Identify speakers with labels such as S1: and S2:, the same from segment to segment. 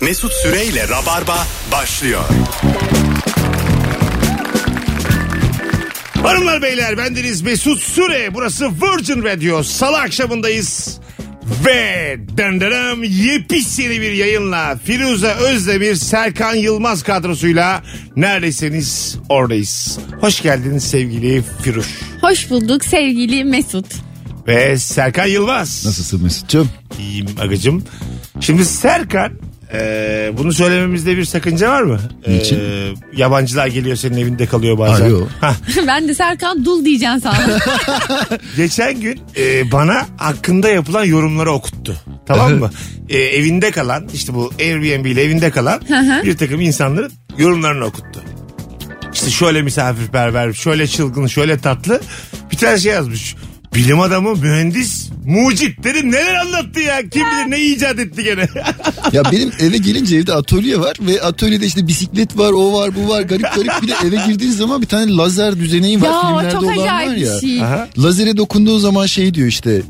S1: Mesut Süreyle Rabarba başlıyor.
S2: Hanımlar beyler bendeniz Mesut Süre. Burası Virgin Radio. Salı akşamındayız. Ve dendenem yepis yeni bir yayınla Firuze Özdemir, Serkan Yılmaz kadrosuyla neredesiniz oradayız. Hoş geldiniz sevgili Firuş
S3: Hoş bulduk sevgili Mesut.
S2: ve Serkan Yılmaz.
S4: Nasılsın Mesut'cum?
S2: İyiyim agacım. Şimdi Serkan e, bunu söylememizde bir sakınca var mı?
S4: Niçin?
S2: E, yabancılar geliyor senin evinde kalıyor bazen.
S4: Aa, yok.
S2: Hah,
S3: ben de Serkan Dul diyeceğim sana.
S2: Geçen gün e, bana hakkında yapılan yorumları okuttu. Tamam mı? E, evinde kalan işte bu Airbnb ile evinde kalan bir takım insanların yorumlarını okuttu. İşte şöyle misafirperver, şöyle çılgın, şöyle tatlı. Bir tane şey yazmış. Bilim adamı, mühendis, mucit dedim neler anlattı ya. Kim bilir ne icat etti gene.
S4: Ya benim eve gelince evde atölye var ve atölyede işte bisiklet var, o var, bu var, garip garip. Bir de eve girdiğiniz zaman bir tane lazer düzeneği var.
S3: Ya,
S4: Filmlerde
S3: çok
S4: olan
S3: acayip
S4: var
S3: bir
S4: ya.
S3: şey.
S2: Aha.
S4: Lazere dokunduğu zaman şey diyor işte.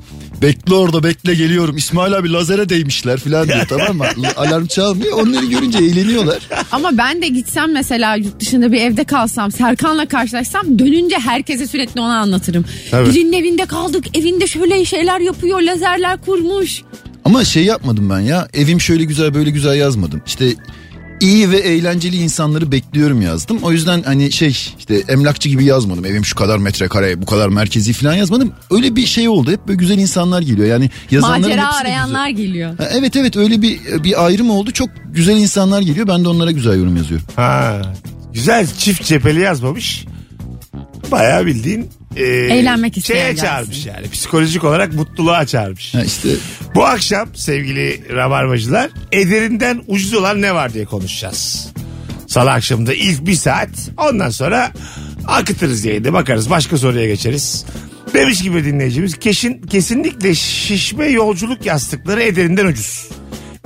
S4: Bekle orada bekle geliyorum. İsmail abi lazere değmişler falan diyor tamam mı? Alarm çalmıyor. Onları görünce eğleniyorlar.
S3: Ama ben de gitsem mesela yurt dışında bir evde kalsam Serkan'la karşılaşsam dönünce herkese sürekli onu anlatırım.
S2: Tabii.
S3: Birinin evinde kaldık evinde şöyle şeyler yapıyor lazerler kurmuş.
S4: Ama şey yapmadım ben ya. Evim şöyle güzel böyle güzel yazmadım. İşte iyi ve eğlenceli insanları bekliyorum yazdım. O yüzden hani şey işte emlakçı gibi yazmadım. Evim şu kadar metrekare, bu kadar merkezi falan yazmadım. Öyle bir şey oldu. Hep böyle güzel insanlar geliyor. Yani yazanların
S3: Macera
S4: hepsi de
S3: arayanlar geliyor.
S4: güzel. Ha, Evet evet öyle bir bir ayrım oldu. Çok güzel insanlar geliyor. Ben de onlara güzel yorum yazıyorum.
S2: Ha, güzel çift cepheli yazmamış. Bayağı bildiğin e,
S3: Eğlenmek isteyen
S2: şeye
S3: gelsin.
S2: çağırmış yani. Psikolojik olarak mutluluğa çağırmış.
S4: Ha işte
S2: Bu akşam sevgili rabarbacılar ederinden ucuz olan ne var diye konuşacağız. Salı akşamında ilk bir saat ondan sonra akıtırız yayında bakarız başka soruya geçeriz. Demiş gibi dinleyicimiz kesin, kesinlikle şişme yolculuk yastıkları ederinden ucuz.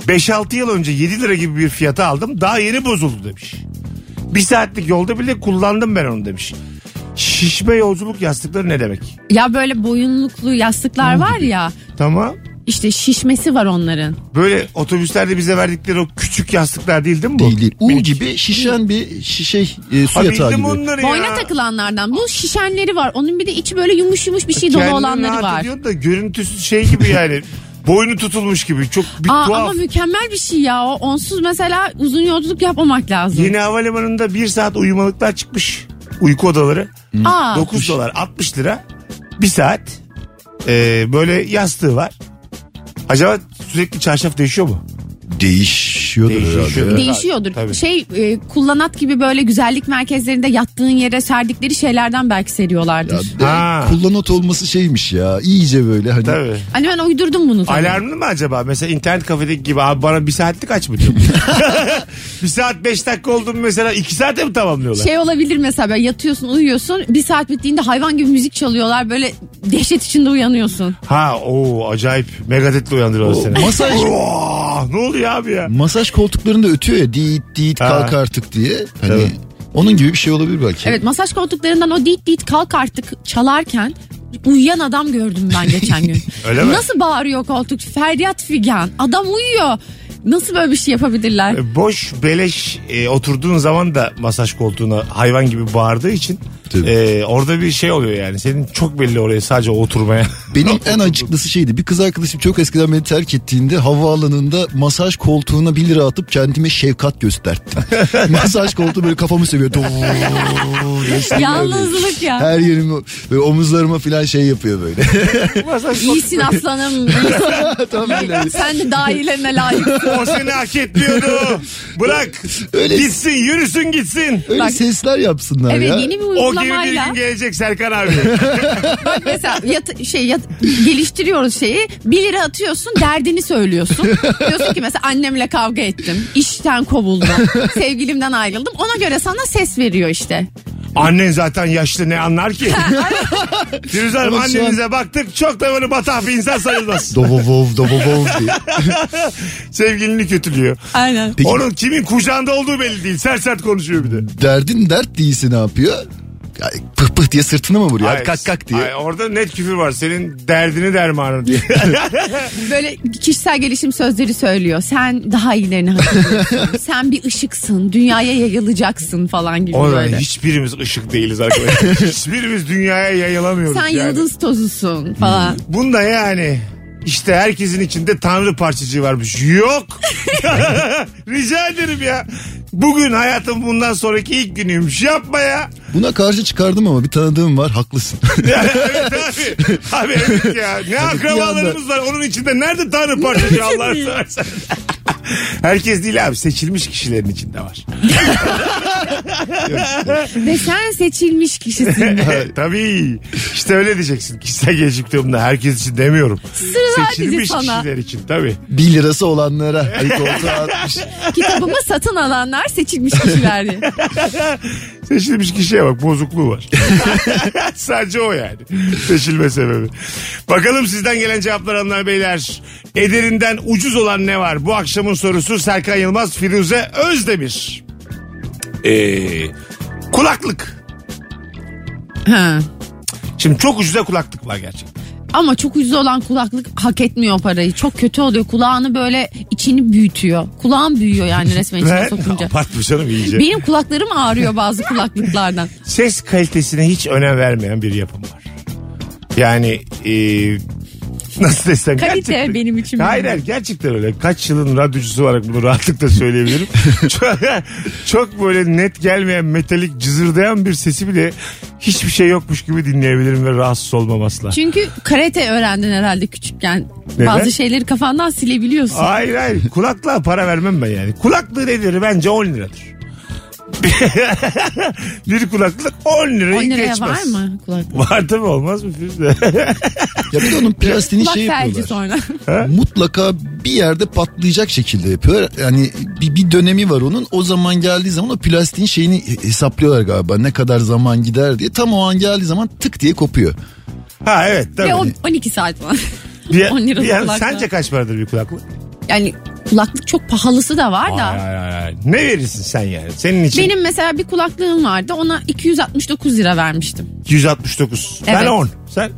S2: 5-6 yıl önce 7 lira gibi bir fiyata aldım daha yeni bozuldu demiş. Bir saatlik yolda bile kullandım ben onu demiş. Şişme yolculuk yastıkları ne demek?
S3: Ya böyle boyunluklu yastıklar var ya
S2: Tamam.
S3: işte şişmesi var onların.
S2: Böyle otobüslerde bize verdikleri o küçük yastıklar değil değil mi bu?
S4: değil değil. U
S2: Minik.
S4: gibi şişen bir şişe e, su
S2: Ha,
S4: yatağı
S2: bildim
S4: gibi.
S2: onları ya.
S3: Boyna takılanlardan bu şişenleri var onun bir de içi böyle yumuş yumuş bir şey dolu
S2: Kendini
S3: olanları
S2: rahat
S3: var.
S2: ediyorsun da görüntüsü şey gibi yani. boynu tutulmuş gibi. Çok bir
S3: Aa,
S2: tuhaf.
S3: ama mükemmel bir şey ya. O onsuz mesela uzun yolculuk yapmamak lazım.
S2: Yeni havalimanında bir saat uyumalıklar çıkmış. Uyku odaları.
S3: Aa,
S2: 9 dolar 60 lira. Bir saat. Ee, böyle yastığı var. Acaba sürekli çarşaf değişiyor mu?
S4: Değişiyordur
S2: Değişiyor.
S4: herhalde. ya.
S3: değişiyordur.
S2: Tabii.
S3: Şey e, kullanat gibi böyle güzellik merkezlerinde yattığın yere serdikleri şeylerden belki
S4: Ya,
S3: seriyorlardır.
S4: de-
S2: Ha.
S4: kullanot olması şeymiş ya. İyice böyle hani.
S2: Tabii.
S3: Hani ben uydurdum bunu tabii.
S2: Alarmlı mı acaba? Mesela internet kafedeki gibi abi bana bir saatlik aç mı diyor. bir saat beş dakika oldu mu mesela iki saate mi tamamlıyorlar?
S3: Şey olabilir mesela böyle yatıyorsun uyuyorsun bir saat bittiğinde hayvan gibi müzik çalıyorlar böyle dehşet içinde uyanıyorsun.
S2: Ha o acayip megadetle uyandırıyorlar
S4: O
S2: seni.
S4: masaj-
S3: Oh.
S2: Oo, ne oluyor abi ya?
S4: Masaj koltuklarında ötüyor ya dit dit
S2: Ha.
S4: kalk artık diye. Hani
S2: Evet.
S4: onun gibi bir şey olabilir belki.
S3: Evet masaj koltuklarından o dit dit kalk artık çalarken uyuyan adam gördüm ben geçen gün.
S2: Öyle mi?
S3: Nasıl bağırıyor koltuk feryat figan adam uyuyor. Nasıl böyle bir şey yapabilirler?
S2: E, Boş beleş e, oturduğun zaman da masaj koltuğuna hayvan gibi bağırdığı için
S4: Tabii.
S2: e, orada bir şey oluyor yani. Senin çok belli oraya sadece oturmaya.
S4: Benim en acıklısı şeydi. Bir kız arkadaşım çok eskiden beni terk ettiğinde havaalanında masaj koltuğuna 1 lira atıp kendime şefkat gösterttim. masaj koltuğu böyle kafamı seviyor. Doo diye sürüyor
S3: Yalnızlık
S4: böyle.
S3: ya.
S4: Her yerimi böyle omuzlarıma falan şey yapıyor böyle.
S2: masaj
S3: İyisin aslanım. iyisin.
S4: Tam böyle.
S3: Sen de daha iyilerine layıksın.
S2: O seni hak etmiyordu. Bırak.
S4: Öyle-
S2: Gitsin yürüsün gitsin.
S4: Öyle
S3: Bak-
S4: sesler yapsınlar
S3: Evet
S4: ya.
S3: yeni bir
S2: O gibi bir
S3: uygulamayla
S2: gün gelecek Serkan abi.
S3: bak mesela yat- şey yat- geliştiriyoruz şeyi 1 lira atıyorsun derdini söylüyorsun. Diyorsun ki mesela annemle kavga ettim. işten kovuldum. Sevgilimden ayrıldım. Ona göre sana ses veriyor işte.
S2: Annen zaten yaşlı ne anlar ki? Firuze Hanım
S4: Ama şu
S2: annenize baktık çok da böyle batah bir insan sayılmaz.
S4: Dovovov dovovov diye.
S2: Sevgilini kötülüyor.
S3: Aynen.
S4: Peki-
S2: Onun kimin kucağında olduğu belli değil. Sert sert konuşuyor bir de.
S4: Derdin dert değilse ne yapıyor? Ya, pıh pıh diye sırtını mı vuruyor?
S2: Ay,
S4: Hadi kalk kalk diye.
S2: ay, orada net küfür var. Senin derdini dermanın diye.
S3: Böyle kişisel gelişim sözleri söylüyor. Sen daha iyilerini hak ediyorsun. Sen bir ışıksın. Dünyaya yayılacaksın falan gibi
S2: Orada
S3: böyle.
S2: hiçbirimiz ışık değiliz arkadaşlar. hiçbirimiz dünyaya yayılamıyoruz.
S3: Sen
S2: yani.
S3: yıldız tozusun falan.
S2: Bunda yani işte herkesin içinde tanrı parçacığı varmış. Yok. Rica ederim ya. Bugün hayatım bundan sonraki ilk günüymüş. Yapma ya.
S4: Buna karşı çıkardım ama bir tanıdığım var haklısın.
S2: evet abi. Abi evet ya. Ne akrabalarımız var onun içinde. Nerede tanrı parçacığı Allah seversen. Herkes değil abi seçilmiş kişilerin içinde var. Hmm.
S3: Ve sen seçilmiş kişisin.
S2: Tabii. İşte öyle diyeceksin. Kişisel gelişim kitabında herkes için demiyorum. Seçilmiş
S3: sana.
S2: kişiler için tabii.
S4: 1 lirası olanlara. Hani koltuğa atmış.
S3: Kitabımı satın alanlar seçilmiş kişilerdi.
S2: Seçilmiş kişiye bak bozukluğu var. Sadece o yani. Seçilme sebebi. Bakalım sizden gelen cevaplar hanımlar beyler. Ederinden ucuz olan ne var? Bu akşamın sorusu Serkan Yılmaz, Firuze Özdemir. Ee, kulaklık.
S3: Ha.
S2: Şimdi çok ucuza kulaklık var gerçekten.
S3: Ama çok ucuz olan kulaklık hak etmiyor parayı. Çok kötü oluyor. Kulağını böyle içini büyütüyor. Kulağın büyüyor yani resmen içine
S2: Ve
S3: sokunca.
S2: abartmış hanım iyice.
S3: Benim kulaklarım ağrıyor bazı kulaklıklardan.
S2: Ses kalitesine hiç önem vermeyen bir yapım var. Yani e, nasıl desem
S3: Kalite
S2: gerçekten-
S3: benim için
S2: Hayır
S3: önemli.
S2: hayır gerçekten öyle. Kaç yılın radyocusu olarak bunu rahatlıkla söyleyebilirim. çok, çok böyle net gelmeyen metalik cızırdayan bir sesi bile hiçbir şey yokmuş gibi dinleyebilirim ve rahatsız olmam asla.
S3: Çünkü karate öğrendin herhalde küçükken.
S2: Neden?
S3: Bazı şeyleri kafandan silebiliyorsun.
S2: Hayır hayır kulaklığa para vermem ben yani. Kulaklığı nedir bence 10 liradır. bir kulaklık 10 lirayı
S3: 10 liraya
S2: geçmez.
S3: var mı kulaklık?
S2: Var tabii olmaz mı Firuze?
S4: Ya bir de onun plastiğini
S3: Kulak
S4: şey
S3: felci
S4: yapıyorlar.
S3: sonra.
S4: mutlaka bir yerde patlayacak şekilde yapıyor. Yani bir, bir dönemi var onun. O zaman geldiği zaman o plastiğin şeyini he- hesaplıyorlar galiba. Ne kadar zaman gider diye. Tam o an geldiği zaman tık diye kopuyor.
S2: ha evet tabii.
S3: Ve on- 12 saat var.
S2: Bir,
S3: 10 liralık
S2: bir yan-
S3: kulaklık.
S2: sence kaç paradır bir kulaklık?
S3: Yani kulaklık çok pahalısı da var da.
S2: Hayır, hayır, hayır, hayır. Ne verirsin sen yani? Senin için
S3: Benim mesela bir kulaklığım vardı. Ona 269 lira vermiştim.
S2: 169. Ben
S3: Evet.
S2: 10. Sen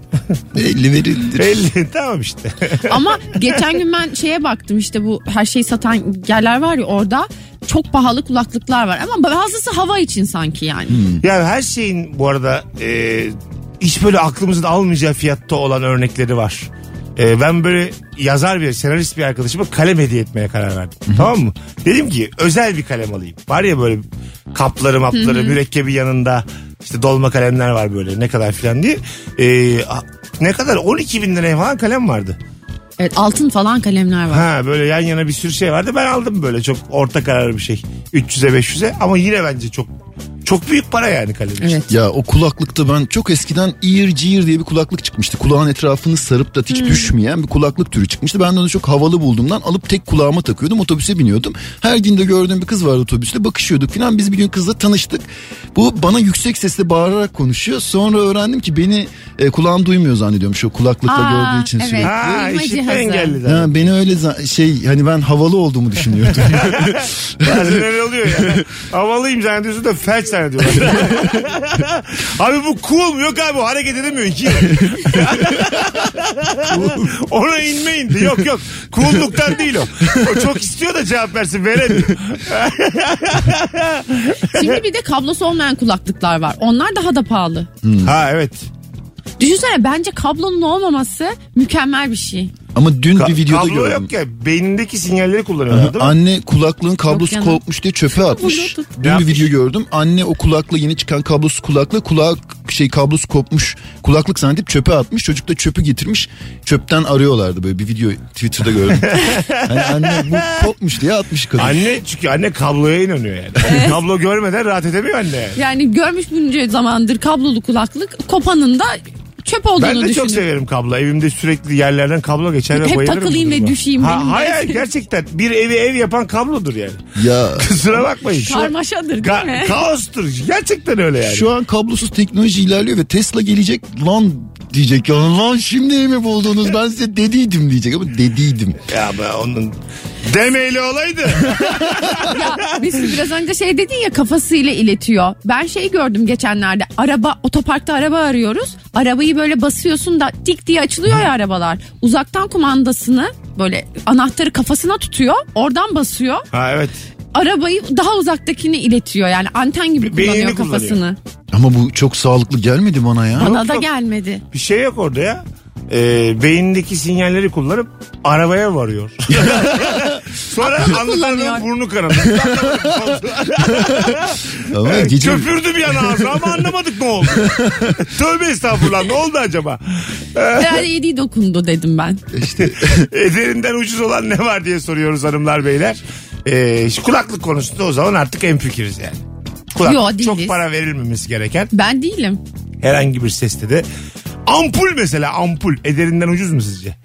S4: 50 verilir.
S2: 50. tamam işte.
S3: Ama geçen gün ben şeye baktım işte bu her şeyi satan yerler var ya orada çok pahalı kulaklıklar var. Ama bazısı hava için sanki yani.
S2: yani her şeyin bu arada e, hiç böyle aklımızın almayacağı fiyatta olan örnekleri var. E, ben böyle yazar bir, senarist bir arkadaşıma kalem hediye etmeye karar verdim. tamam mı? Dedim ki özel bir kalem alayım. Var ya böyle kapları mapları mürekkebi yanında işte dolma kalemler var böyle ne kadar filan diye. E, a- ne kadar 12 bin liraya falan kalem vardı.
S3: Evet altın falan kalemler var.
S2: Ha böyle yan yana bir sürü şey vardı. Ben aldım böyle çok orta kararlı bir şey. 300'e 500'e ama yine bence çok çok büyük para yani kalem için.
S3: Evet.
S4: Ya o kulaklıkta ben çok eskiden ear gear diye bir kulaklık çıkmıştı. Kulağın etrafını sarıp da
S3: Hmm.
S4: hiç düşmeyen bir kulaklık türü çıkmıştı. Ben de onu çok havalı bulduğumdan alıp tek kulağıma takıyordum. Otobüse biniyordum. Her gün de gördüğüm bir kız vardı otobüste. Bakışıyorduk falan. Biz bir gün kızla tanıştık. Bu bana yüksek sesle bağırarak konuşuyor. Sonra öğrendim ki beni e, kulağım duymuyor zannediyormuş o kulaklıkla
S3: Aa,
S4: gördüğü için
S3: evet.
S4: sürekli.
S2: Ha
S3: Duyma
S2: işitme
S3: cihazı.
S2: engelli zaten.
S4: Ha, beni öyle za- şey hani ben havalı olduğumu düşünüyordum.
S2: Bazen öyle oluyor ya. Havalıyım zannediyorsun da felç zannediyorlar. abi bu cool mu? Yok abi o hareket edemiyor iki yıl. Ona inme indi. Yok yok. Cool'luktan değil o. O çok istiyor da cevap versin veremiyor.
S3: Şimdi bir de kablosu olmayan kulaklıklar var. Onlar daha da pahalı.
S4: Hmm.
S2: ha evet.
S3: Düşünsene bence kablonun olmaması mükemmel bir şey.
S4: Ama dün
S2: Ka-
S4: bir videoda
S2: kablo
S4: gördüm.
S2: yok ya. Beynindeki sinyalleri kullanıyorlar değil mi?
S4: Anne kulaklığın kablosu
S3: canım.
S4: kopmuş diye çöpe atmış.
S3: Bluetooth.
S4: Dün bir video gördüm. Anne o kulaklığı yeni çıkan kablosuz kulaklığı kulak şey kablosu kopmuş. Kulaklık zannedip çöpe atmış. Çocuk da çöpü getirmiş. Çöpten arıyorlardı böyle bir video Twitter'da gördüm. Hani anne bu kopmuş diye atmış kadın.
S2: Anne çünkü anne kabloya inanıyor yani. Kablo görmeden rahat edemiyor anne. yani.
S3: Yani görmüş bunca zamandır kablolu kulaklık kopanın da çöp olduğunu
S2: Ben de
S3: düşünüyorum.
S2: çok severim kablo. Evimde sürekli yerlerden kablo geçer ve
S3: Hep
S2: bayılırım. bu
S3: takılayım ve
S2: duruma.
S3: düşeyim
S2: Ha,
S3: benim de.
S2: hayır gerçekten bir evi ev yapan kablodur yani.
S4: Ya
S2: Kusura bakmayın. Şu-
S3: Karmaşadır değil
S2: Ka-
S3: mi?
S2: kaostur. Gerçekten öyle yani.
S4: şu an kablosuz teknoloji ilerliyor ve Tesla gelecek. Lan diyecek ki lan şimdi mi buldunuz ben size dediydim diyecek ama dediydim.
S2: Ya ben onun demeyle olaydı.
S3: Mesut biraz önce şey dedin ya kafasıyla iletiyor. Ben şey gördüm geçenlerde. Araba otoparkta araba arıyoruz. Arabayı böyle basıyorsun da tik diye açılıyor ya arabalar. Uzaktan kumandasını böyle anahtarı kafasına tutuyor. Oradan basıyor.
S2: ha evet.
S3: Arabayı daha uzaktakini iletiyor. Yani anten gibi
S2: Be- beynini
S3: kullanıyor
S2: kullanıyor.
S3: kafasını.
S4: Ama bu çok sağlıklı gelmedi bana ya.
S3: Bana da
S2: yok.
S3: gelmedi.
S2: Bir şey yok orada ya. Ee, beynindeki sinyalleri kullanıp arabaya varıyor. Sonra anlatanın
S3: kullanıyor.
S2: burnu kanadı.
S4: Ama gece
S2: Köpürdü bir yana ağzı ama anlamadık ne oldu. Tövbe estağfurullah ne oldu acaba?
S3: Herhalde yediği dokundu dedim ben.
S2: Ederinden ucuz olan ne var diye soruyoruz hanımlar beyler. Ee, şu kulaklık konusunda o zaman artık en fikiriz yani. Kulak,
S3: Yo, değiliz.
S2: çok para verilmemesi gereken
S3: Ben değilim.
S2: herhangi bir seste de. Ampul mesela ampul. Ederinden ucuz mu sizce?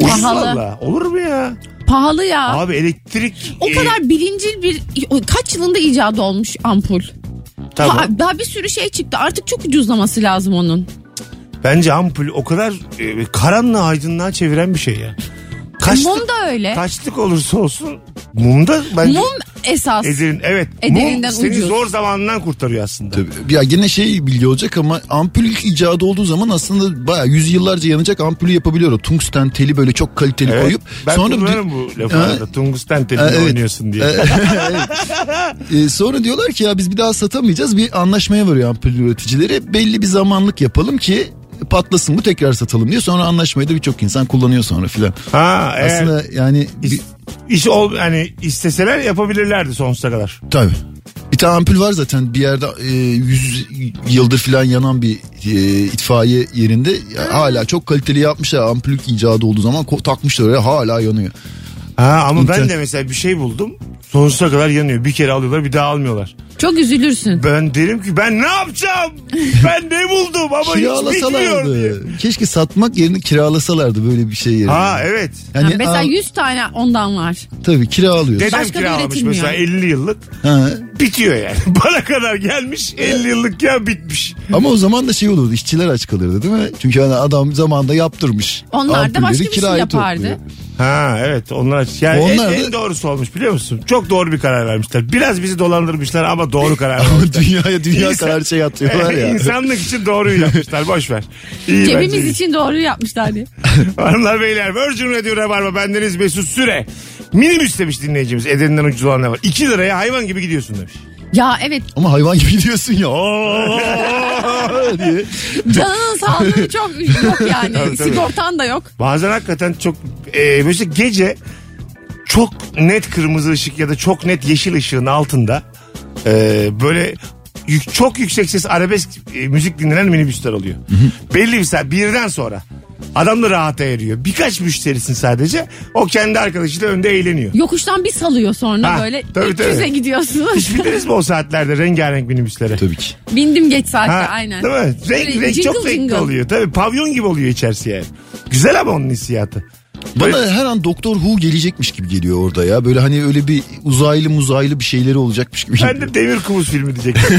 S2: Ucuz
S3: Pahalı.
S2: valla. Olur mu ya?
S3: Pahalı ya.
S2: Abi elektrik.
S3: O
S2: e,
S3: kadar bilincil bir o kaç yılında icadı olmuş ampul.
S2: tamam.
S3: Ha- daha bir sürü şey çıktı. Artık çok ucuzlaması lazım onun.
S2: Bence ampul o kadar e, karanlığı aydınlığa çeviren bir şey ya. Kaçlık,
S3: Mum da öyle.
S2: kaçlık olursa olsun mumda bence
S3: Mum esas.
S2: Ederin, evet.
S3: Ederinden
S2: mum seni
S3: ucuz.
S2: zor zamanından kurtarıyor aslında.
S4: Tabii. Ya gene şey bilgi olacak ama ampul ilk icadı olduğu zaman aslında bayağı yüzyıllarca yanacak ampulü yapabiliyor. O tungsten teli böyle çok kaliteli
S2: Evet.
S4: koyup.
S2: ben
S4: sonra
S2: kullanırım bu lafı
S4: Ha,
S2: arada. Tungsten telini
S4: Ha, evet.
S2: oynuyorsun diye.
S4: e, sonra diyorlar ki ya biz bir daha satamayacağız. Bir anlaşmaya varıyor ampul üreticileri. Belli bir zamanlık yapalım ki patlasın bu tekrar satalım diyor. Sonra anlaşmayı da birçok insan kullanıyor sonra filan.
S2: ha, eğer
S4: Aslında yani bir,
S2: is- iş ol hani isteseler yapabilirlerdi sonsuza kadar.
S4: tabii. Bir tane ampul var zaten bir yerde e, 100 yıldır filan yanan bir e, itfaiye yerinde Ya hala çok kaliteli yapmışlar ampul ilk icadı olduğu zaman ko- takmışlar oraya hala yanıyor.
S2: Ha ama ben
S4: İnter-
S2: de mesela bir şey buldum. Sonsuza kadar yanıyor. Bir kere alıyorlar bir daha almıyorlar.
S3: Çok üzülürsün.
S2: Ben derim ki ben ne yapacağım? ben ne buldum ama hiç bitmiyor diye.
S4: Kiralasalardı. Keşke satmak yerine kiralasalardı böyle bir şey yerine.
S2: Ha evet.
S4: Yani,
S3: Ha, mesela
S4: aa,
S3: 100 tane ondan var.
S4: tabii kiralıyorsun.
S2: Dedem
S3: Başka da
S2: kiralamış
S3: üretilmiyor.
S2: mesela 50 yıllık.
S4: Ha.
S2: Bitiyor yani. Bana kadar gelmiş 50 yıllık ya bitmiş.
S4: Ama o zaman da şey olurdu işçiler aç kalırdı değil mi? Çünkü hani adam zamanında yaptırmış.
S3: Onlar da
S4: Ampulleri
S3: başka bir şey
S4: kiraya
S3: yapardı.
S4: topluyor.
S2: Ha evet onlar aç- yani
S4: Onlar
S2: en,
S4: da-
S2: en doğrusu olmuş biliyor musun? Çok doğru bir karar vermişler. Biraz bizi dolandırmışlar ama doğru karar
S4: Ama
S2: vermişler.
S4: dünyaya dünya
S2: İnsan-
S4: kadar şey atıyorlar ya.
S2: İnsanlık için doğruyu yapmışlar boş ver. İyi bence.
S3: Cebimiz için doğru yapmışlar diye.
S2: Hanımlar beyler Virgin Radio Rabarba bendeniz Mesut Süre. Minibüs demiş dinleyicimiz edeninden ucuz olan ne var? 2 liraya hayvan gibi gidiyorsun demiş.
S3: Ya evet
S4: Ama hayvan gibi diyorsun ya. "Aa!" diye.
S3: canının sağlığı çok yok
S2: Tabii,
S3: yani.
S2: tabii.
S3: Sigortan da yok.
S2: Bazen hakikaten çok e, mesela gece çok net kırmızı ışık ya da çok net yeşil ışığın altında e, böyle yük- çok yüksek ses arabesk e, müzik dinlenen minibüsler oluyor. Belli bir saat birden sonra adam da rahata eriyor. Birkaç müşterisin sadece o kendi arkadaşıyla önde eğleniyor.
S3: Yokuştan bir salıyor sonra
S2: Ha,
S3: böyle
S2: tabii,
S3: 300'e
S2: tabii.
S3: gidiyorsun.
S2: Hiç bindiniz mi o saatlerde rengarenk minibüslere?
S4: Tabii ki.
S3: Bindim geç saatte
S2: Ha,
S3: aynen.
S2: Değil mi? Renk,
S3: Böyle
S2: renk çok
S3: jingle
S2: renkli
S3: jingle.
S2: oluyor. Tabii pavyon gibi oluyor içerisi yani. Güzel ama onun hissiyatı. Böyle-
S4: Bana her an Doktor Who gelecekmiş gibi geliyor orada ya. Böyle hani öyle bir uzaylı muzaylı bir şeyleri olacakmış gibi.
S2: Ben de Demir Kubus filmi diyecektim.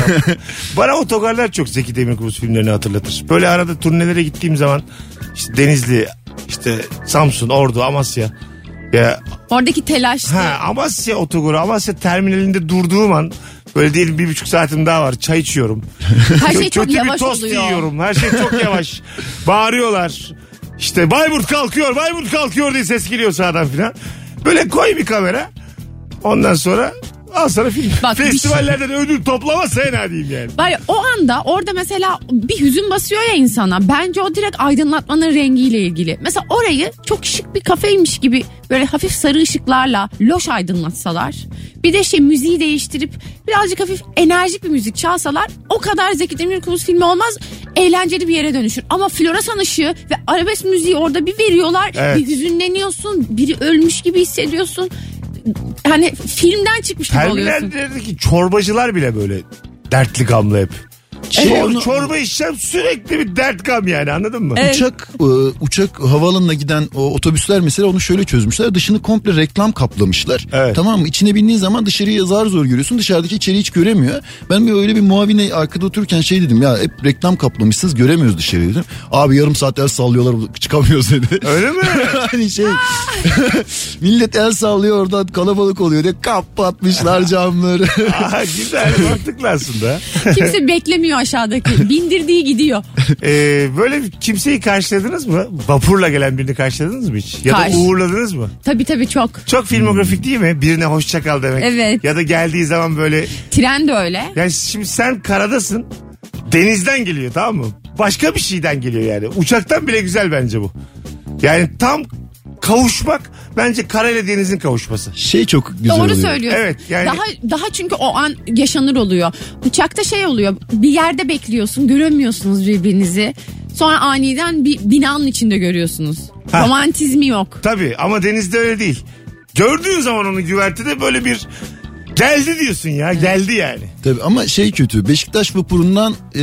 S2: Bana otogarlar çok Zeki Demir Kubus filmlerini hatırlatır. Böyle arada turnelere gittiğim zaman işte Denizli, işte Samsun, Ordu, Amasya. Ya,
S3: Oradaki telaşlı.
S2: ha, Amasya otogarı, Amasya terminalinde durduğum an böyle diyelim bir buçuk saatim daha var. Çay içiyorum.
S3: Her şey
S2: Kö-
S3: çok
S2: kötü bir
S3: yavaş
S2: tost
S3: oluyor.
S2: yiyorum. Her şey çok yavaş. Bağırıyorlar. İşte Bayburt kalkıyor, Bayburt kalkıyor diye ses geliyor sağdan filan. Böyle koy bir kamera. Ondan sonra al sana film.
S3: Bak, bir şey-
S2: Festivallerden ödül toplama sen diyeyim yani.
S3: Var ya, o anda orada mesela bir hüzün basıyor ya insana. Bence o direkt aydınlatmanın rengiyle ilgili. Mesela orayı çok şık bir kafeymiş gibi böyle hafif sarı ışıklarla loş aydınlatsalar. Bir de şey müziği değiştirip birazcık hafif enerjik bir müzik çalsalar o kadar Zeki Demirkubuz filmi olmaz. Eğlenceli bir yere dönüşür. Ama floresan ışığı ve arabesk müziği orada bir veriyorlar.
S2: Evet.
S3: Bir hüzünleniyorsun. Biri ölmüş gibi hissediyorsun. Hani filmden çıkmış gibi oluyorsun.
S2: Terminallerdeki çorbacılar bile böyle dertli gamlı hep.
S4: Şey,
S2: Çor-
S4: onu-
S2: çorba içsem sürekli bir dert kam yani anladın mı?
S3: Evet.
S4: Uçak e, uçak havaalanına giden o otobüsler mesela onu şöyle çözmüşler. Dışını komple reklam kaplamışlar.
S2: Evet.
S4: Tamam mı? İçine bindiğin zaman dışarıyı zar zor görüyorsun. Dışarıdaki içeriği hiç göremiyor. Ben bir öyle bir muavine arkada otururken şey dedim ya hep reklam kaplamışsınız göremiyoruz dışarıyı dedim. Abi yarım saat el sallıyorlar çıkamıyoruz dedi.
S2: Öyle mi?
S4: hani şey millet el sallıyor oradan kalabalık oluyor diye kapatmışlar camları.
S2: Aha, güzel mantıklı aslında.
S3: Kimse beklemiyor aşağıdaki. Bindirdiği gidiyor.
S2: Ee, böyle bir kimseyi karşıladınız mı? Vapurla gelen birini karşıladınız mı hiç? Ya
S3: Karşı-
S2: da uğurladınız mı?
S3: Tabii tabii çok.
S2: Çok filmografik değil mi? Birine hoşça kal demek.
S3: Evet.
S2: Ya da geldiği zaman böyle
S3: Tren de öyle.
S2: yani şimdi sen karadasın. Denizden geliyor tamam mı? Başka bir şeyden geliyor yani. Uçaktan bile güzel bence bu. Yani tam kavuşmak bence karayla denizin kavuşması.
S4: Şey çok güzel
S3: Doğru
S4: oluyor.
S3: söylüyorsun.
S2: Evet, yani-
S3: Daha daha çünkü o an yaşanır oluyor. Uçakta şey oluyor. Bir yerde bekliyorsun, göremiyorsunuz birbirinizi. Sonra aniden bir binanın içinde görüyorsunuz.
S2: Ha.
S3: Romantizmi yok.
S2: Tabii ama denizde öyle değil. Gördüğün zaman onu güvertede böyle bir geldi diyorsun ya geldi yani.
S4: Tabii ama şey kötü. Beşiktaş vapurundan e,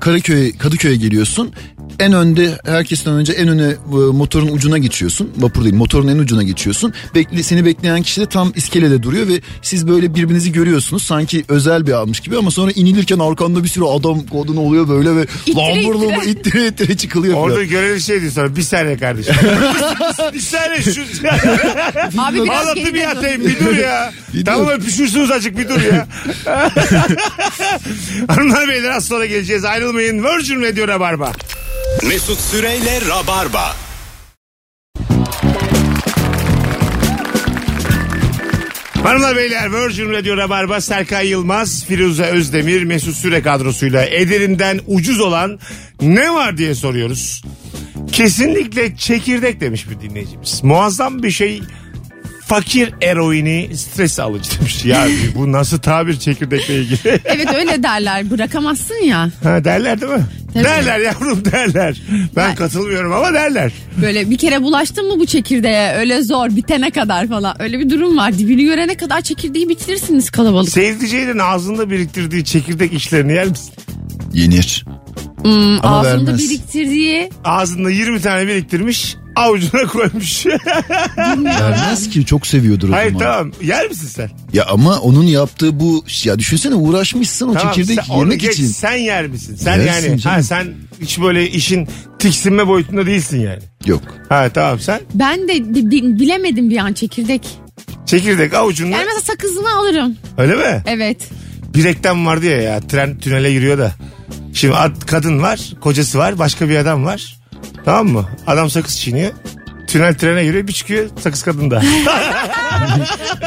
S4: Karaköy, Kadıköy'e geliyorsun. En önde herkesten önce en öne e, motorun ucuna geçiyorsun. Vapur değil motorun en ucuna geçiyorsun. Bekli, seni bekleyen kişi de tam iskelede duruyor ve siz böyle birbirinizi görüyorsunuz. Sanki özel bir almış gibi ama sonra inilirken arkanda bir sürü adam kodun oluyor böyle ve
S3: İttire
S4: lambur
S3: ittire.
S4: lambur ittire ittire çıkılıyor. falan.
S2: Orada görevli şey diyor sonra bir saniye kardeşim. bir saniye şu.
S3: Abi biraz
S2: Anlattı
S3: geride
S2: bir
S3: dur.
S2: yatayım bir dur ya.
S4: Bir
S2: tamam
S4: dur.
S2: öpüşürsünüz azıcık bir dur ya. Hanımlar beyler az sonra geleceğiz ayrılmayın. Virgin Radio Rabarba.
S1: Mesut Süreyle Rabarba.
S2: Hanımlar beyler Virgin Radio Rabarba Serkay Yılmaz, Firuze Özdemir, Mesut Süre kadrosuyla Edir'inden ucuz olan ne var diye soruyoruz. Kesinlikle çekirdek demiş bir dinleyicimiz. Muazzam bir şey fakir eroini stres alıcı demiş. Ya bu nasıl tabir çekirdekle ilgili?
S3: Evet öyle derler. Bırakamazsın ya.
S2: ha, derler değil mi?
S3: Tabii.
S2: Derler yavrum derler. Ben
S3: Ben-
S2: katılmıyorum ama derler.
S3: Böyle bir kere bulaştın mı bu çekirdeğe öyle zor bitene kadar falan. Öyle bir durum var. Dibini görene kadar çekirdeği bitirirsiniz kalabalık.
S2: Seyircilerin ağzında biriktirdiği çekirdek işlerini yer misin?
S4: Yenir.
S3: Hmm,
S4: Ama
S3: ağzında
S4: vermez.
S3: biriktirdiği
S2: Ağzında 20 tane biriktirmiş avucuna koymuş.
S4: Vermez ki çok seviyordur o
S2: Hayır
S4: zaman.
S2: tamam yer misin sen?
S4: Ya ama onun yaptığı bu ya düşünsene uğraşmışsın o
S2: Tamam,
S4: çekirdek
S2: sen- onu
S4: yemek
S2: geç,
S4: için.
S2: Sen yer misin? Sen
S4: Yersin
S2: yani ha,
S4: canım.
S2: sen hiç böyle işin tiksinme boyutunda değilsin yani.
S4: Yok.
S2: Ha tamam sen
S3: ben de bi- bi- bilemedim bir an çekirdek.
S2: çekirdek avucunda
S3: Yani mesela sakızını alırım.
S2: öyle mi?
S3: Evet.
S2: Bir reklam vardı ya, ya tren tünele giriyor da. Şimdi ad- kadın var kocası var başka bir adam var tamam mı? Adam sakız çiğniyor. Tünel trene giriyor bir çıkıyor sakız kadında.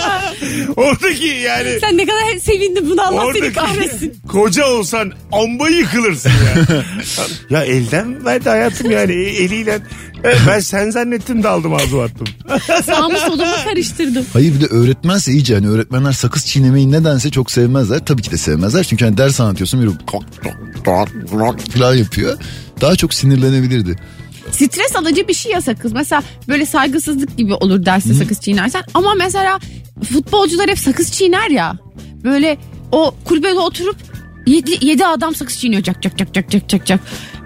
S2: Oradaki yani
S3: Sen ne kadar sevindin bunu Allah seni
S2: Oradaki
S3: kahretsin.
S2: koca olsan amba yıkılırsın ya. ya elden verdi hayatım yani e- eliyle. E, Ben sen zannettim de aldım ağzıma attım.
S3: Sağımı solumu karıştırdım.
S4: Hayır bir de öğretmense iyice hani öğretmenler sakız çiğnemeyi nedense çok sevmezler. Tabii ki de sevmezler çünkü hani ders anlatıyorsun biri tok, tok, tok, tok falan yapıyor. Daha çok sinirlenebilirdi.
S3: Stres alıcı bir şey ya sakız. Mesela böyle saygısızlık gibi olur derste sakız çiğnersen. Ama mesela futbolcular hep sakız çiğner ya. Böyle o kulübede oturup yedi, yedi adam sakız çiğniyor. Cak cak cak cak cak cak cak.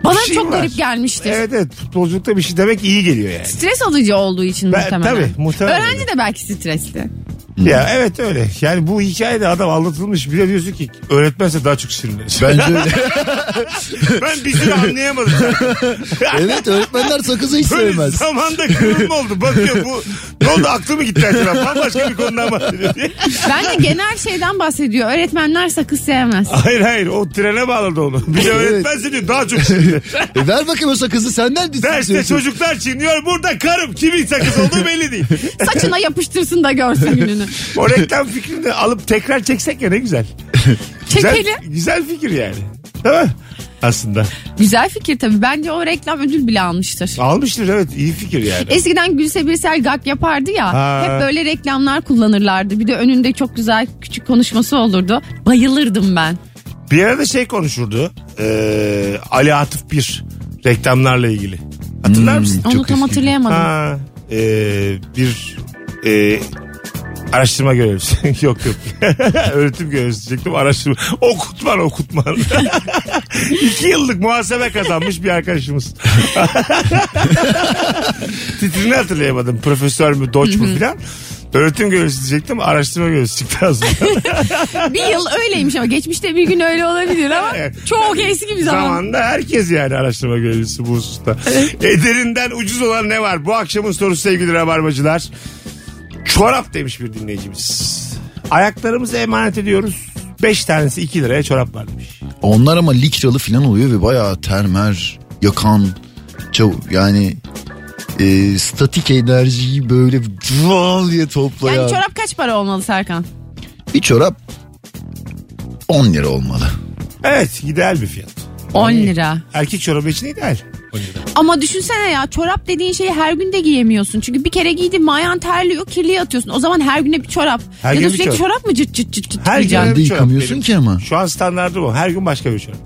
S3: Bana
S2: Bir şey
S3: çok
S2: var.
S3: garip gelmiştir.
S2: Evet evet futbolculukta bir şey demek iyi geliyor yani.
S3: Stres alıcı olduğu için
S2: Ben-
S3: muhtemelen.
S2: tabii, muhtemelen.
S3: Öğrenci de belki stresli.
S4: Hmm.
S2: Ya evet öyle. Yani bu hikayede adam anlatılmış. Bir de diyorsun ki öğretmense daha çok sinirlenir.
S4: Bence öyle.
S2: ben bir sürü anlayamadım.
S4: evet öğretmenler sakızı hiç
S2: Böyle
S4: sevmez.
S2: zamanda kırılma oldu. Bakıyor bu ne oldu aklı mı gitti acaba? Bambaşka bir konudan bahsediyor.
S3: Bence genel şeyden bahsediyor. Öğretmenler sakız sevmez.
S2: hayır hayır o trene bağladı onu. Bir de
S4: Evet.
S2: öğretmense diyor daha çok sinirlenir.
S4: E, ver bakayım o sakızı senden de
S2: Derste
S4: istiyorsun.
S2: çocuklar çiğniyor. Burada karım kimin sakız olduğu belli değil.
S3: Saçına yapıştırsın da görsün gününü.
S2: O reklam fikrini de alıp tekrar çeksek ya ne güzel. Güzel,
S3: Çekelim.
S2: güzel fikir yani. Değil mi? Aslında.
S3: Güzel fikir tabii. Bence o reklam ödül bile almıştır.
S2: Almıştır evet iyi fikir yani.
S3: Eskiden Gülse Birsel gag yapardı ya.
S2: Ha.
S3: Hep böyle reklamlar kullanırlardı. Bir de önünde çok güzel küçük konuşması olurdu. Bayılırdım ben.
S2: Bir arada şey konuşurdu. Ee, Ali Atıf bir reklamlarla ilgili. Hatırlar mısın?
S3: Onu
S4: Çok
S3: tam
S2: e,
S4: eski.
S3: hatırlayamadım.
S2: Ha, ee, bir ee, Araştırma görevlisi. yok yok. Öğretim görevlisi diyecektim. Araştırma. Okutman okutman. İki yıllık muhasebe kazanmış bir arkadaşımız. Titrini hatırlayamadım. Profesör mü, doç mu filan. Öğretim görevlisi diyecektim. Araştırma görevlisi çıktı az sonra.
S3: Bir yıl öyleymiş ama geçmişte bir gün öyle olabilir ama
S2: Evet.
S3: çok eski bir zaman.
S2: Zamanında herkes yani araştırma görevlisi bu hususta. Ederinden ucuz olan ne var? Bu akşamın sorusu sevgili rabarbacılar. Çorap demiş bir dinleyicimiz. Ayaklarımızı emanet ediyoruz. 5 tanesi 2 liraya çorap var demiş.
S4: Onlar ama likralı falan oluyor ve bayağı termer, yakan, çav yani e, statik enerjiyi böyle vual diye toplayan.
S3: Yani çorap kaç para olmalı Serkan?
S4: Bir çorap 10 lira olmalı.
S2: Evet ideal bir fiyat.
S3: 10 lira.
S2: Erkek çorabı için ideal.
S3: Ama düşünsene ya çorap dediğin şeyi her gün de giyemiyorsun. Çünkü bir kere giydin mayan terliyor kirliye atıyorsun. O zaman her güne bir çorap.
S2: Her
S3: ya
S2: gün
S3: da
S2: bir
S3: sürekli
S2: çorap.
S3: çorap. mı cırt cırt cırt cırt
S2: Her
S3: giyeceksin?
S2: gün
S4: Nerede
S2: bir çorap
S4: yıkamıyorsun
S2: benim.
S4: ki ama?
S2: Şu an standardı bu. Her gün başka bir çorap.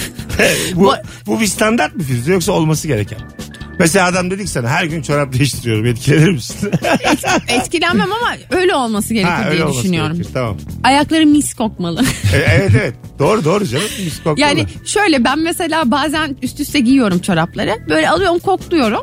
S2: bu,
S3: Bu-
S2: bu bir standart mı Firuze yoksa olması gereken? Mesela adam dedik sana her gün çorap değiştiriyorum etkilenir misin?
S3: Etkilenmem ama öyle olması gerekir
S2: ha, öyle
S3: diye
S2: olması
S3: düşünüyorum.
S2: gerekir. Tamam.
S3: Ayakları mis kokmalı.
S2: E, evet evet. Doğru doğru canım. Mis kokmalı.
S3: yani şöyle ben mesela bazen üst üste giyiyorum çorapları. Böyle alıyorum kokluyorum.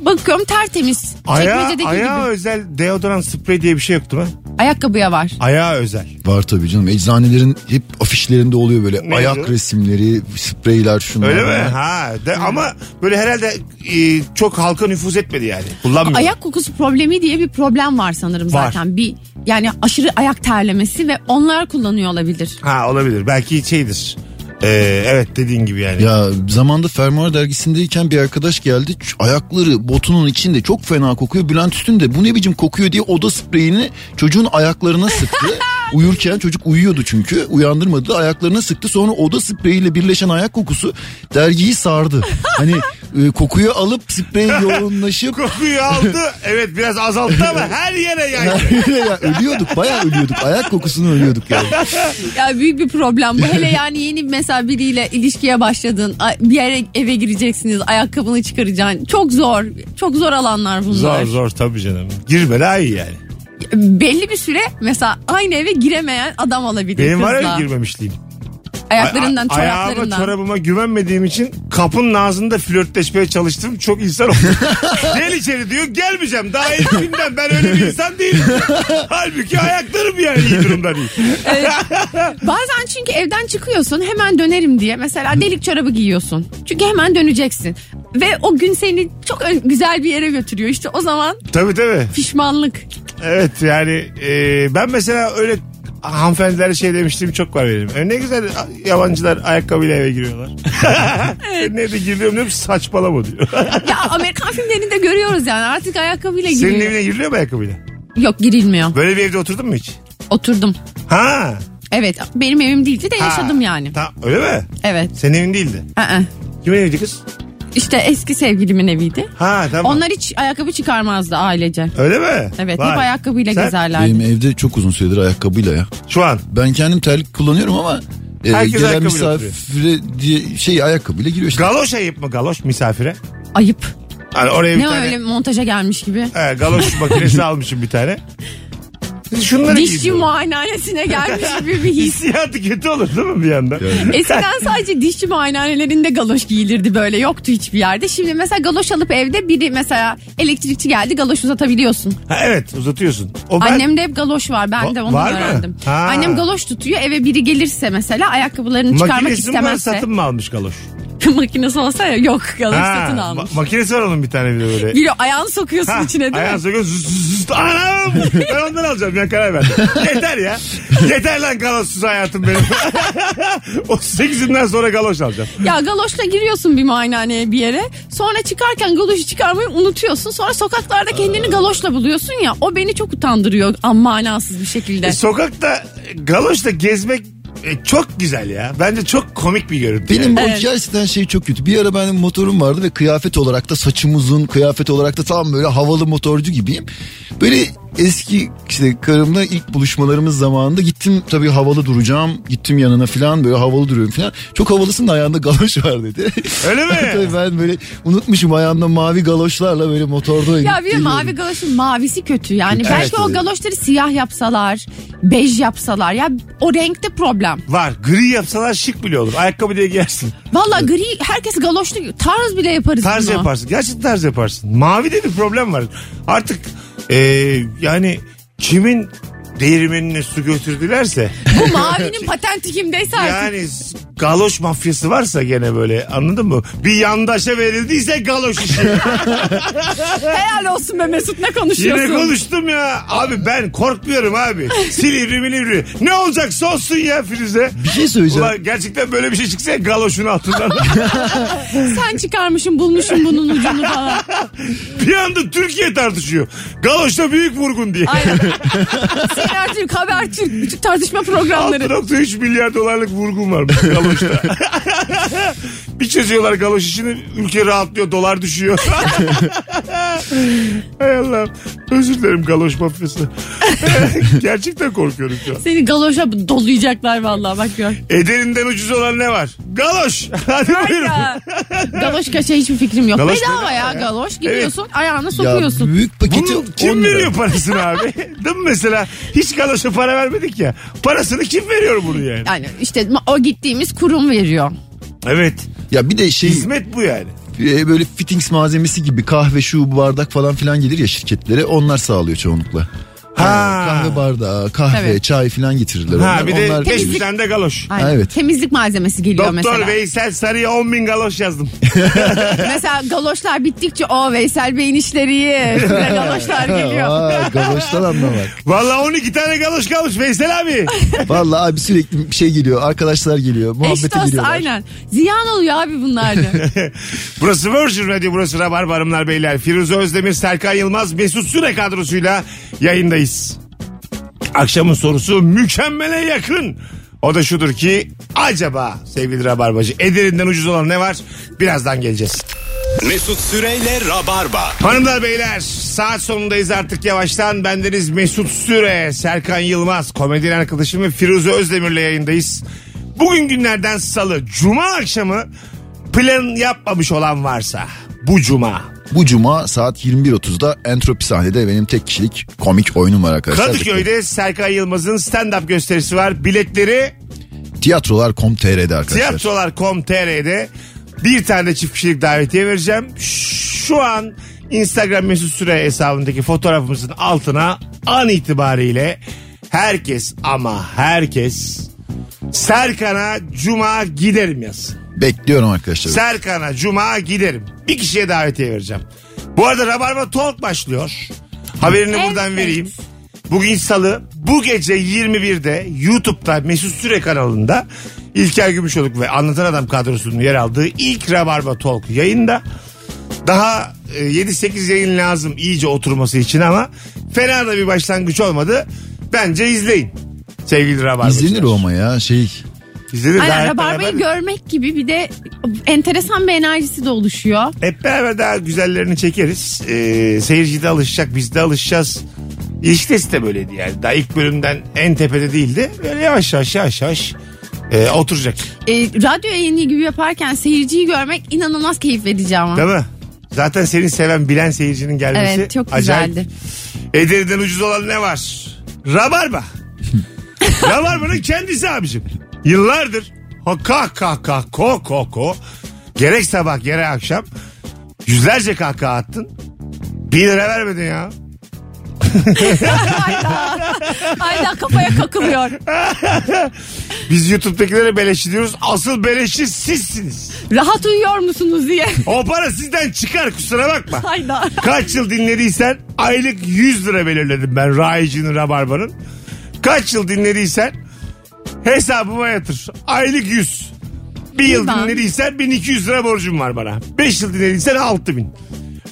S3: Bakıyorum tertemiz.
S2: Aya,
S3: Çekmecedeki
S2: ayağa
S3: gibi.
S2: özel deodorant sprey diye bir şey yoktu mu?
S3: Ayakkabıya var.
S2: Ayağa özel.
S4: Var tabii canım. Eczanelerin hep afişlerinde oluyor böyle
S2: Ne
S4: ayak
S2: diyor?
S4: resimleri, spreyler şunlar.
S2: Öyle mi? Ha. de- ama böyle herhalde e, çok halka nüfuz etmedi yani. Kullanmıyor.
S3: Ayak kokusu problemi diye bir problem var sanırım
S2: Var.
S3: zaten. Bir yani aşırı ayak terlemesi ve onlar kullanıyor olabilir.
S2: Ha olabilir. Belki şeydir. E, evet dediğin gibi yani.
S4: Ya zamanda Fermuar dergisindeyken bir arkadaş geldi. Ç- Ayakları botunun içinde çok fena kokuyor. Bülent Üstün de bu ne biçim kokuyor diye oda spreyini çocuğun ayaklarına sıktı. Uyurken çocuk uyuyordu çünkü. Uyandırmadı. Ayaklarına sıktı. Sonra oda spreyiyle birleşen ayak kokusu dergiyi sardı. Hani e, kokuyu alıp sprey yoğunlaşıp
S2: Kokuyu aldı. Evet biraz azalttı ama her yere yaydı.
S4: ya ölüyorduk. Bayağı ölüyorduk. Ayak kokusunu ölüyorduk yani.
S3: Ya büyük bir problem bu. Hele yani yeni mesela biriyle ilişkiye başladın. a- Bir yere eve gireceksiniz. Ayakkabını çıkaracaksın. Çok zor. Çok zor alanlar bunlar.
S2: Zor zor tabii canım. Girme daha iyi yani.
S3: Belli bir süre mesela aynı eve giremeyen adam olabilir
S2: Benim var
S3: kızla.
S2: ya girmemişliğim.
S3: Ayaklarından,
S2: A- a- Ayağıma
S3: çoraplarından.
S2: çorabıma güvenmediğim için kapının ağzında flörtleşmeye çalıştım. Çok insan oldu. Gel içeri diyor gelmeyeceğim. Daha ilk günden ben öyle bir insan değilim. Halbuki ayaklarım yani iyi durumda değil.
S3: Bazen çünkü evden çıkıyorsun hemen dönerim diye. Mesela delik çorabı giyiyorsun. Çünkü hemen döneceksin. Ve o gün seni çok ö- güzel bir yere götürüyor. İşte o zaman
S2: Tabii tabii.
S3: pişmanlık.
S2: Evet yani e, ben mesela öyle hanımefendilere şey demiştim çok var benim. E, ne güzel a- yabancılar ayakkabıyla eve giriyorlar. E, ne de giriyorum diyorum saçmalama diyor.
S3: Ya Amerikan filmlerinde görüyoruz yani artık ayakkabıyla
S2: Senin
S3: E, giriyor.
S2: evine giriliyor mu ayakkabıyla?
S3: Yok girilmiyor.
S2: Böyle bir evde oturdun mu hiç?
S3: Oturdum.
S2: Ha.
S3: Evet benim evim değildi de
S2: ha.
S3: yaşadım yani.
S2: Ta, öyle mi?
S3: Evet.
S2: Senin evin değildi.
S3: Aa.
S2: Kimin eviydi kız?
S3: İşte eski sevgilimin eviydi.
S2: Ha tamam.
S3: Onlar hiç ayakkabı çıkarmazdı ailece.
S2: Öyle mi?
S3: Evet
S2: Vay.
S3: hep ayakkabıyla
S2: Sen-
S3: gezerlerdi.
S4: Benim evde çok uzun süredir ayakkabıyla ya.
S2: Şu an.
S4: Ben kendim terlik kullanıyorum ama e,
S2: Herkes
S4: gelen
S2: ayakkabıyla
S4: misafire diye şey ayakkabıyla giriyor işte.
S2: Galoş ayıp mı galoş misafire?
S3: Ayıp.
S2: Hani oraya bir
S3: Ne
S2: tane.
S3: öyle montaja gelmiş gibi.
S2: He, galoş makinesi almışım bir tane. Şunları
S3: Dişçi
S2: giyiyorum.
S3: muayenehanesine gelmiş gibi bir his.
S2: Hissiyatı kötü olur değil mi bir yandan?
S3: Eskiden sadece dişçi muayenehanelerinde galoş giyilirdi böyle yoktu hiçbir yerde. Şimdi mesela galoş alıp evde biri mesela elektrikçi geldi galoş uzatabiliyorsun.
S2: Ha, evet uzatıyorsun. O ben...
S3: Annemde hep galoş var ben de onu
S2: Var mı?
S3: öğrendim.
S2: Ha.
S3: Annem galoş tutuyor eve biri gelirse mesela ayakkabılarını çıkarmak
S2: Makinesi mi var
S3: istemezse.
S2: satın mı almış galoş?
S3: Makinesi olsa ya yok galoş
S2: Ha,
S3: satın
S2: ma-
S3: almış.
S2: makinesi var onun bir tane bir de böyle.
S3: Giriyor ayağını sokuyorsun içine değil mi?
S2: ayağını sokuyor. Zuz, zuz, zuz. Anam! Ben ondan alacağım ya karar verdim. Yeter ya. Yeter lan galoşsuz hayatım benim. 38'imden sonra galoş alacağım. E,
S3: Ya galoşla giriyorsun bir muayenehaneye bir yere. Sonra çıkarken galoşu çıkarmayı unutuyorsun. Sonra sokaklarda kendini galoşla buluyorsun ya. O beni çok utandırıyor ama manasız bir şekilde.
S2: E, Sokakta e, galoşla gezmek e, çok güzel ya. Bence çok komik bir görüntü.
S4: Benim
S2: yani.
S4: o
S3: Evet.
S4: gerçekten şey çok kötü. Bir ara benim motorum vardı ve kıyafet olarak da saçım uzun, kıyafet olarak da tam böyle havalı motorcu gibiyim. Böyle eski işte karımla ilk buluşmalarımız zamanında gittim tabii havalı duracağım. Gittim yanına falan böyle havalı duruyorum falan. Çok havalısın da ayağında galoş var dedi.
S2: Öyle mi?
S4: tabii ben böyle unutmuşum ayağımda mavi galoşlarla böyle
S3: Ya
S4: motorda.
S3: bir de
S4: geliyorum.
S3: mavi galoşun mavisi kötü yani.
S4: Kötü.
S3: Belki
S4: Evet.
S3: o galoşları siyah yapsalar, bej yapsalar. Ya o renkte problem.
S2: Var. Gri yapsalar şık bile olur. Ayakkabı diye giyersin.
S3: Valla gri herkes galoşlu tarz bile yaparız
S2: Tarz
S3: bunu.
S2: yaparsın. Gerçekten tarz yaparsın. Mavi de bir problem var. Artık eee, yani kimin değirmenine su götürdülerse
S3: Bu mavinin patenti kimdeyse artık.
S2: yani s- galoş mafyası varsa gene böyle anladın mı? Bir yandaşa verildiyse galoş işi.
S3: Helal olsun be Mesut ne
S2: Yine
S3: konuşuyorsun?
S2: konuştum ya. Abi ben korkmuyorum abi. Silivri milivri. Ne olacaksa olsun ya Firuze.
S4: Bir şey söyleyeceğim.
S2: Ulan gerçekten böyle bir şey çıksa galoşun altından.
S3: Sen çıkarmışsın bulmuşsun bunun ucunu falan.
S2: bir anda Türkiye tartışıyor. Galoşta büyük vurgun diye.
S3: Aynen. Seyler Türk, Haber Türk, bütün tartışma programları.
S2: 6.3 milyar dolarlık vurgun var bu galoşta. bir çözüyorlar galoş işini ülke rahatlıyor dolar düşüyor. Hay Allah'ım özür dilerim galoş mafyası. Gerçekten korkuyorum şu an.
S3: Seni galoşa dolayacaklar vallahi bak gör.
S2: Ederinden ucuz olan ne var? Galoş. Hadi buyurun.
S3: Ya. Galoş kaça şey, hiçbir fikrim yok.
S2: Galoş
S3: bedava
S2: bedava
S3: ya,
S2: ya.
S3: galoş. Gidiyorsun ayağına
S4: Ya
S3: sokuyorsun.
S4: büyük paketi
S2: Bunu kim
S4: 10 lira.
S2: veriyor parasını abi? Değil mi mesela? Hiç galoşa para vermedik ya. Parasını kim veriyor bunu yani?
S3: Yani işte ma- o gittiğimiz kurum veriyor.
S2: Evet.
S4: Ya bir de şey
S2: Hizmet bu yani.
S4: e, böyle fittings malzemesi gibi kahve şu bardak falan filan gelir ya şirketlere onlar sağlıyor çoğunlukla.
S2: Ha.
S4: Kahve bardağı, kahve,
S3: Tabii.
S4: çay filan getirirler.
S2: Ha
S4: onlar.
S2: bir de
S4: onlar...
S2: 500 tane de galoş.
S3: Aynen.
S4: Evet.
S3: Temizlik malzemesi geliyor
S2: Doktor
S3: mesela.
S2: Veysel Sarı'ya 10 bin galoş yazdım.
S3: Mesela galoşlar bittikçe o Veysel Bey'in işleri iyi. Size galoşlar geliyor.
S4: Aa, galoştan anlamak.
S2: Vallahi 12 tane galoş kalmış Veysel abi.
S4: Vallahi abi sürekli bir şey geliyor. Arkadaşlar geliyor.
S3: Eş
S4: Muhabbete
S3: dost
S4: giriyorlar.
S3: aynen. Ziyan oluyor abi bunlar da.
S2: burası Virgin Radio, burası Rabarba Hanımlar Beyler. Firuze Özdemir, Serkan Yılmaz, Mesut Süre kadrosuyla yayındayız. Akşamın sorusu mükemmele yakın. O da şudur ki acaba sevgili Rabarbacı Edirne'den ucuz olan ne var? Birazdan geleceğiz.
S1: Mesut Süreyle Rabarba.
S2: Hanımlar beyler saat sonundayız artık yavaştan. Bendeniz Mesut Süre, Serkan Yılmaz, komedyen arkadaşım ve Firuze Özdemir'le yayındayız. Bugün günlerden salı, cuma akşamı plan yapmamış olan varsa bu cuma
S4: Bu cuma saat 21.30'da Entropi sahnede benim tek kişilik komik oyunum var arkadaşlar.
S2: Kadıköy'de Serkan Yılmaz'ın stand-up gösterisi var. Biletleri
S4: Tiyatrolar.com.tr'de arkadaşlar.
S2: tiyatrolar.com.tr'de bir tane de çift kişilik davetiye vereceğim. Şu an Instagram mesut süre hesabındaki fotoğrafımızın altına an itibariyle herkes ama herkes Serkan'a Cuma giderim yazsın.
S4: Bekliyorum arkadaşlar.
S2: Serkan'a Cuma giderim. Bir kişiye davetiye vereceğim. Bu arada Rabarba Talk başlıyor. Haberini
S3: Evet.
S2: buradan vereyim. Bugün salı bu gece 21'de YouTube'da Mesut Süre kanalında İlker Gümüşoluk ve Anlatan Adam kadrosunun yer aldığı ilk Rabarba Talk yayında. Daha e, 7-8 yayın lazım iyice oturması için ama fena da bir başlangıç olmadı. Bence izleyin sevgili Rabarba.
S4: İzlenir o ama ya şey.
S2: İzlenir.
S3: Aynen
S2: Gayet
S3: rabarbayı
S2: beraber-
S3: görmek gibi bir de enteresan bir enerjisi de oluşuyor.
S2: Hep beraber daha güzellerini çekeriz. Ee, seyirci de alışacak, biz de alışacağız. İlişkidesi de böyleydi yani. Daha ilk bölümden en tepede değildi. Böyle yavaş yavaş yavaş yavaş e, oturacak.
S3: E, radyo yayını gibi yaparken seyirciyi görmek inanılmaz keyif verici ama.
S2: Değil mi? Zaten seni seven, bilen seyircinin gelmesi
S3: Evet çok
S2: acayip.
S3: güzeldi.
S2: Edirne'den ucuz olan ne var? Rabarba. Rabarba'nın kendisi abicim. Yıllardır ho- kahkaha kah ko ko ko. Gerek sabah gerek akşam yüzlerce kahkaha attın. Bir lira vermedin ya.
S3: Aynen kafaya kakılıyor.
S2: Biz YouTube'dakilere beleş diyoruz. Asıl beleşi sizsiniz.
S3: Rahat uyuyor musunuz diye.
S2: O para sizden çıkar kusura bakma.
S3: Hayda.
S2: Kaç yıl dinlediysen aylık 100 lira belirledim ben Raici'nin Rabarba'nın. Kaç yıl dinlediysen hesabıma yatır. Aylık 100. Bir yıl
S3: Ulan.
S2: dinlediysen 1200 lira borcum var bana. 5 yıl dinlediysen 6000.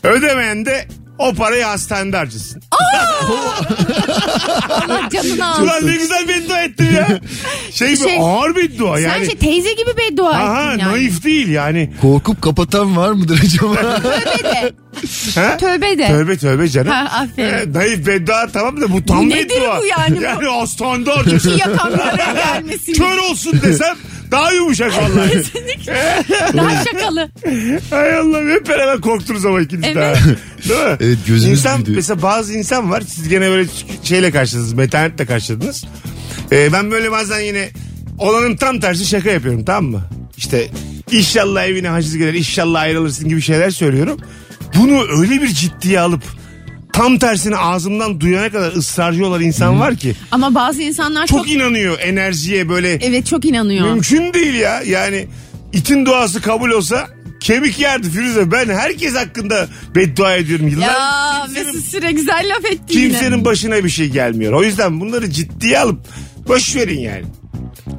S2: Ödemeyen de o parayı hastanede harcasın.
S3: Allah canını al.
S2: Ulan ne güzel beddua ettim ya. şey bir
S3: Şey-
S2: ağır beddua
S3: Sen
S2: yani.
S3: şey teyze gibi beddua
S2: Aha
S3: ettin yani.
S2: naif değil yani.
S4: Korkup kapatan var mıdır acaba?
S3: Tövbe de.
S2: Ha?
S3: Tövbe de.
S2: Tövbe tövbe canım.
S3: Ha, aferin.
S2: Ee, naif beddua tamam da bu tam
S3: Bu nedir
S2: beddua.
S3: bu yani bu?
S2: Yani o standart.
S3: İki yakan bir araya gelmesin.
S2: Kör olsun desem daha yumuşak vallahi.
S3: Daha şakalı.
S2: Hay Allah'ım hep beraber korktunuz ama ikiniz
S3: Evet.
S2: daha. Değil mi?
S4: Evet, gözümüz
S2: İnsan,
S4: büyüdü.
S2: Mesela bazı insan var siz gene böyle şeyle karşıladınız metanetle karşıladınız. Ee, ben böyle bazen yine olanın tam tersi şaka yapıyorum tamam mı? İşte inşallah evine haciz gelir inşallah ayrılırsın gibi şeyler söylüyorum. Bunu öyle bir ciddiye alıp tam tersini ağzımdan duyana kadar ısrarcı olan insan var ki.
S3: Ama bazı insanlar çok,
S2: Çok inanıyor enerjiye böyle
S3: evet çok inanıyor.
S2: Mümkün değil ya. Yani itin duası kabul olsa kemik yerdi Firuze. Ben herkes hakkında beddua ediyorum. Yıllar
S3: Ya
S2: kimsenin,
S3: Mesut Süre güzel laf etti yine.
S2: kimsenin başına bir şey gelmiyor. O yüzden bunları ciddiye alıp boş verin yani.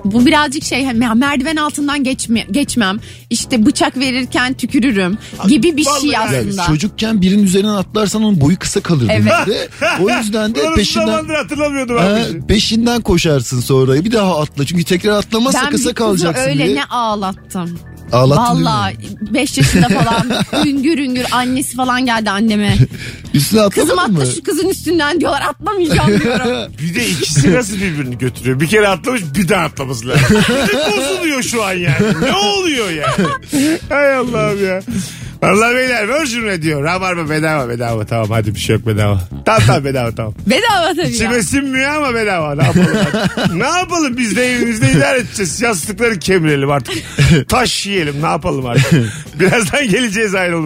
S3: Bu birazcık şey hani ya merdiven altından geçme, geçmem. İşte bıçak verirken tükürürüm gibi bir şey
S2: Vallahi
S3: aslında.
S4: E, Çocukken birinin üzerine atlarsan onun boyu kısa kalır.
S3: Evet.
S4: dedi. O yüzden de
S2: Bunu
S4: peşinden...
S2: zamandır hatırlamıyordum ben. bu
S4: Ha,
S2: işi.
S4: peşinden koşarsın sonra bir daha atla çünkü tekrar atlamazsa
S3: ben
S4: kısa
S3: bir kızı
S4: kalacaksın
S3: öyle
S4: diye.
S3: ne ağlattım.
S4: Ağlattın
S3: Valla 5 yaşında falan üngür üngür annesi falan geldi anneme.
S4: Üstüne atlamadın
S3: Kızım
S4: mı?
S3: atla şu kızın üstünden diyorlar atlamayacağım diyorum.
S2: Bir de ikisi nasıl birbirini götürüyor? Bir kere atlamış bir daha atlaması lazım. Bir de bozuluyor şu an yani. Ne oluyor yani? Hay Allah'ım ya. Vallahi beyler Virgin Radio. Rabarba bedava bedava tamam hadi bir şey yok bedava. Tamam tamam bedava tamam.
S3: Bedava tabii ya.
S2: İçime sinmiyor ama bedava. Ne yapalım? ne yapalım? Biz de evimizde idare edeceğiz. Yastıkları kemirelim artık. Taş yiyelim. Ne yapalım artık? Birazdan geleceğiz ayrılın.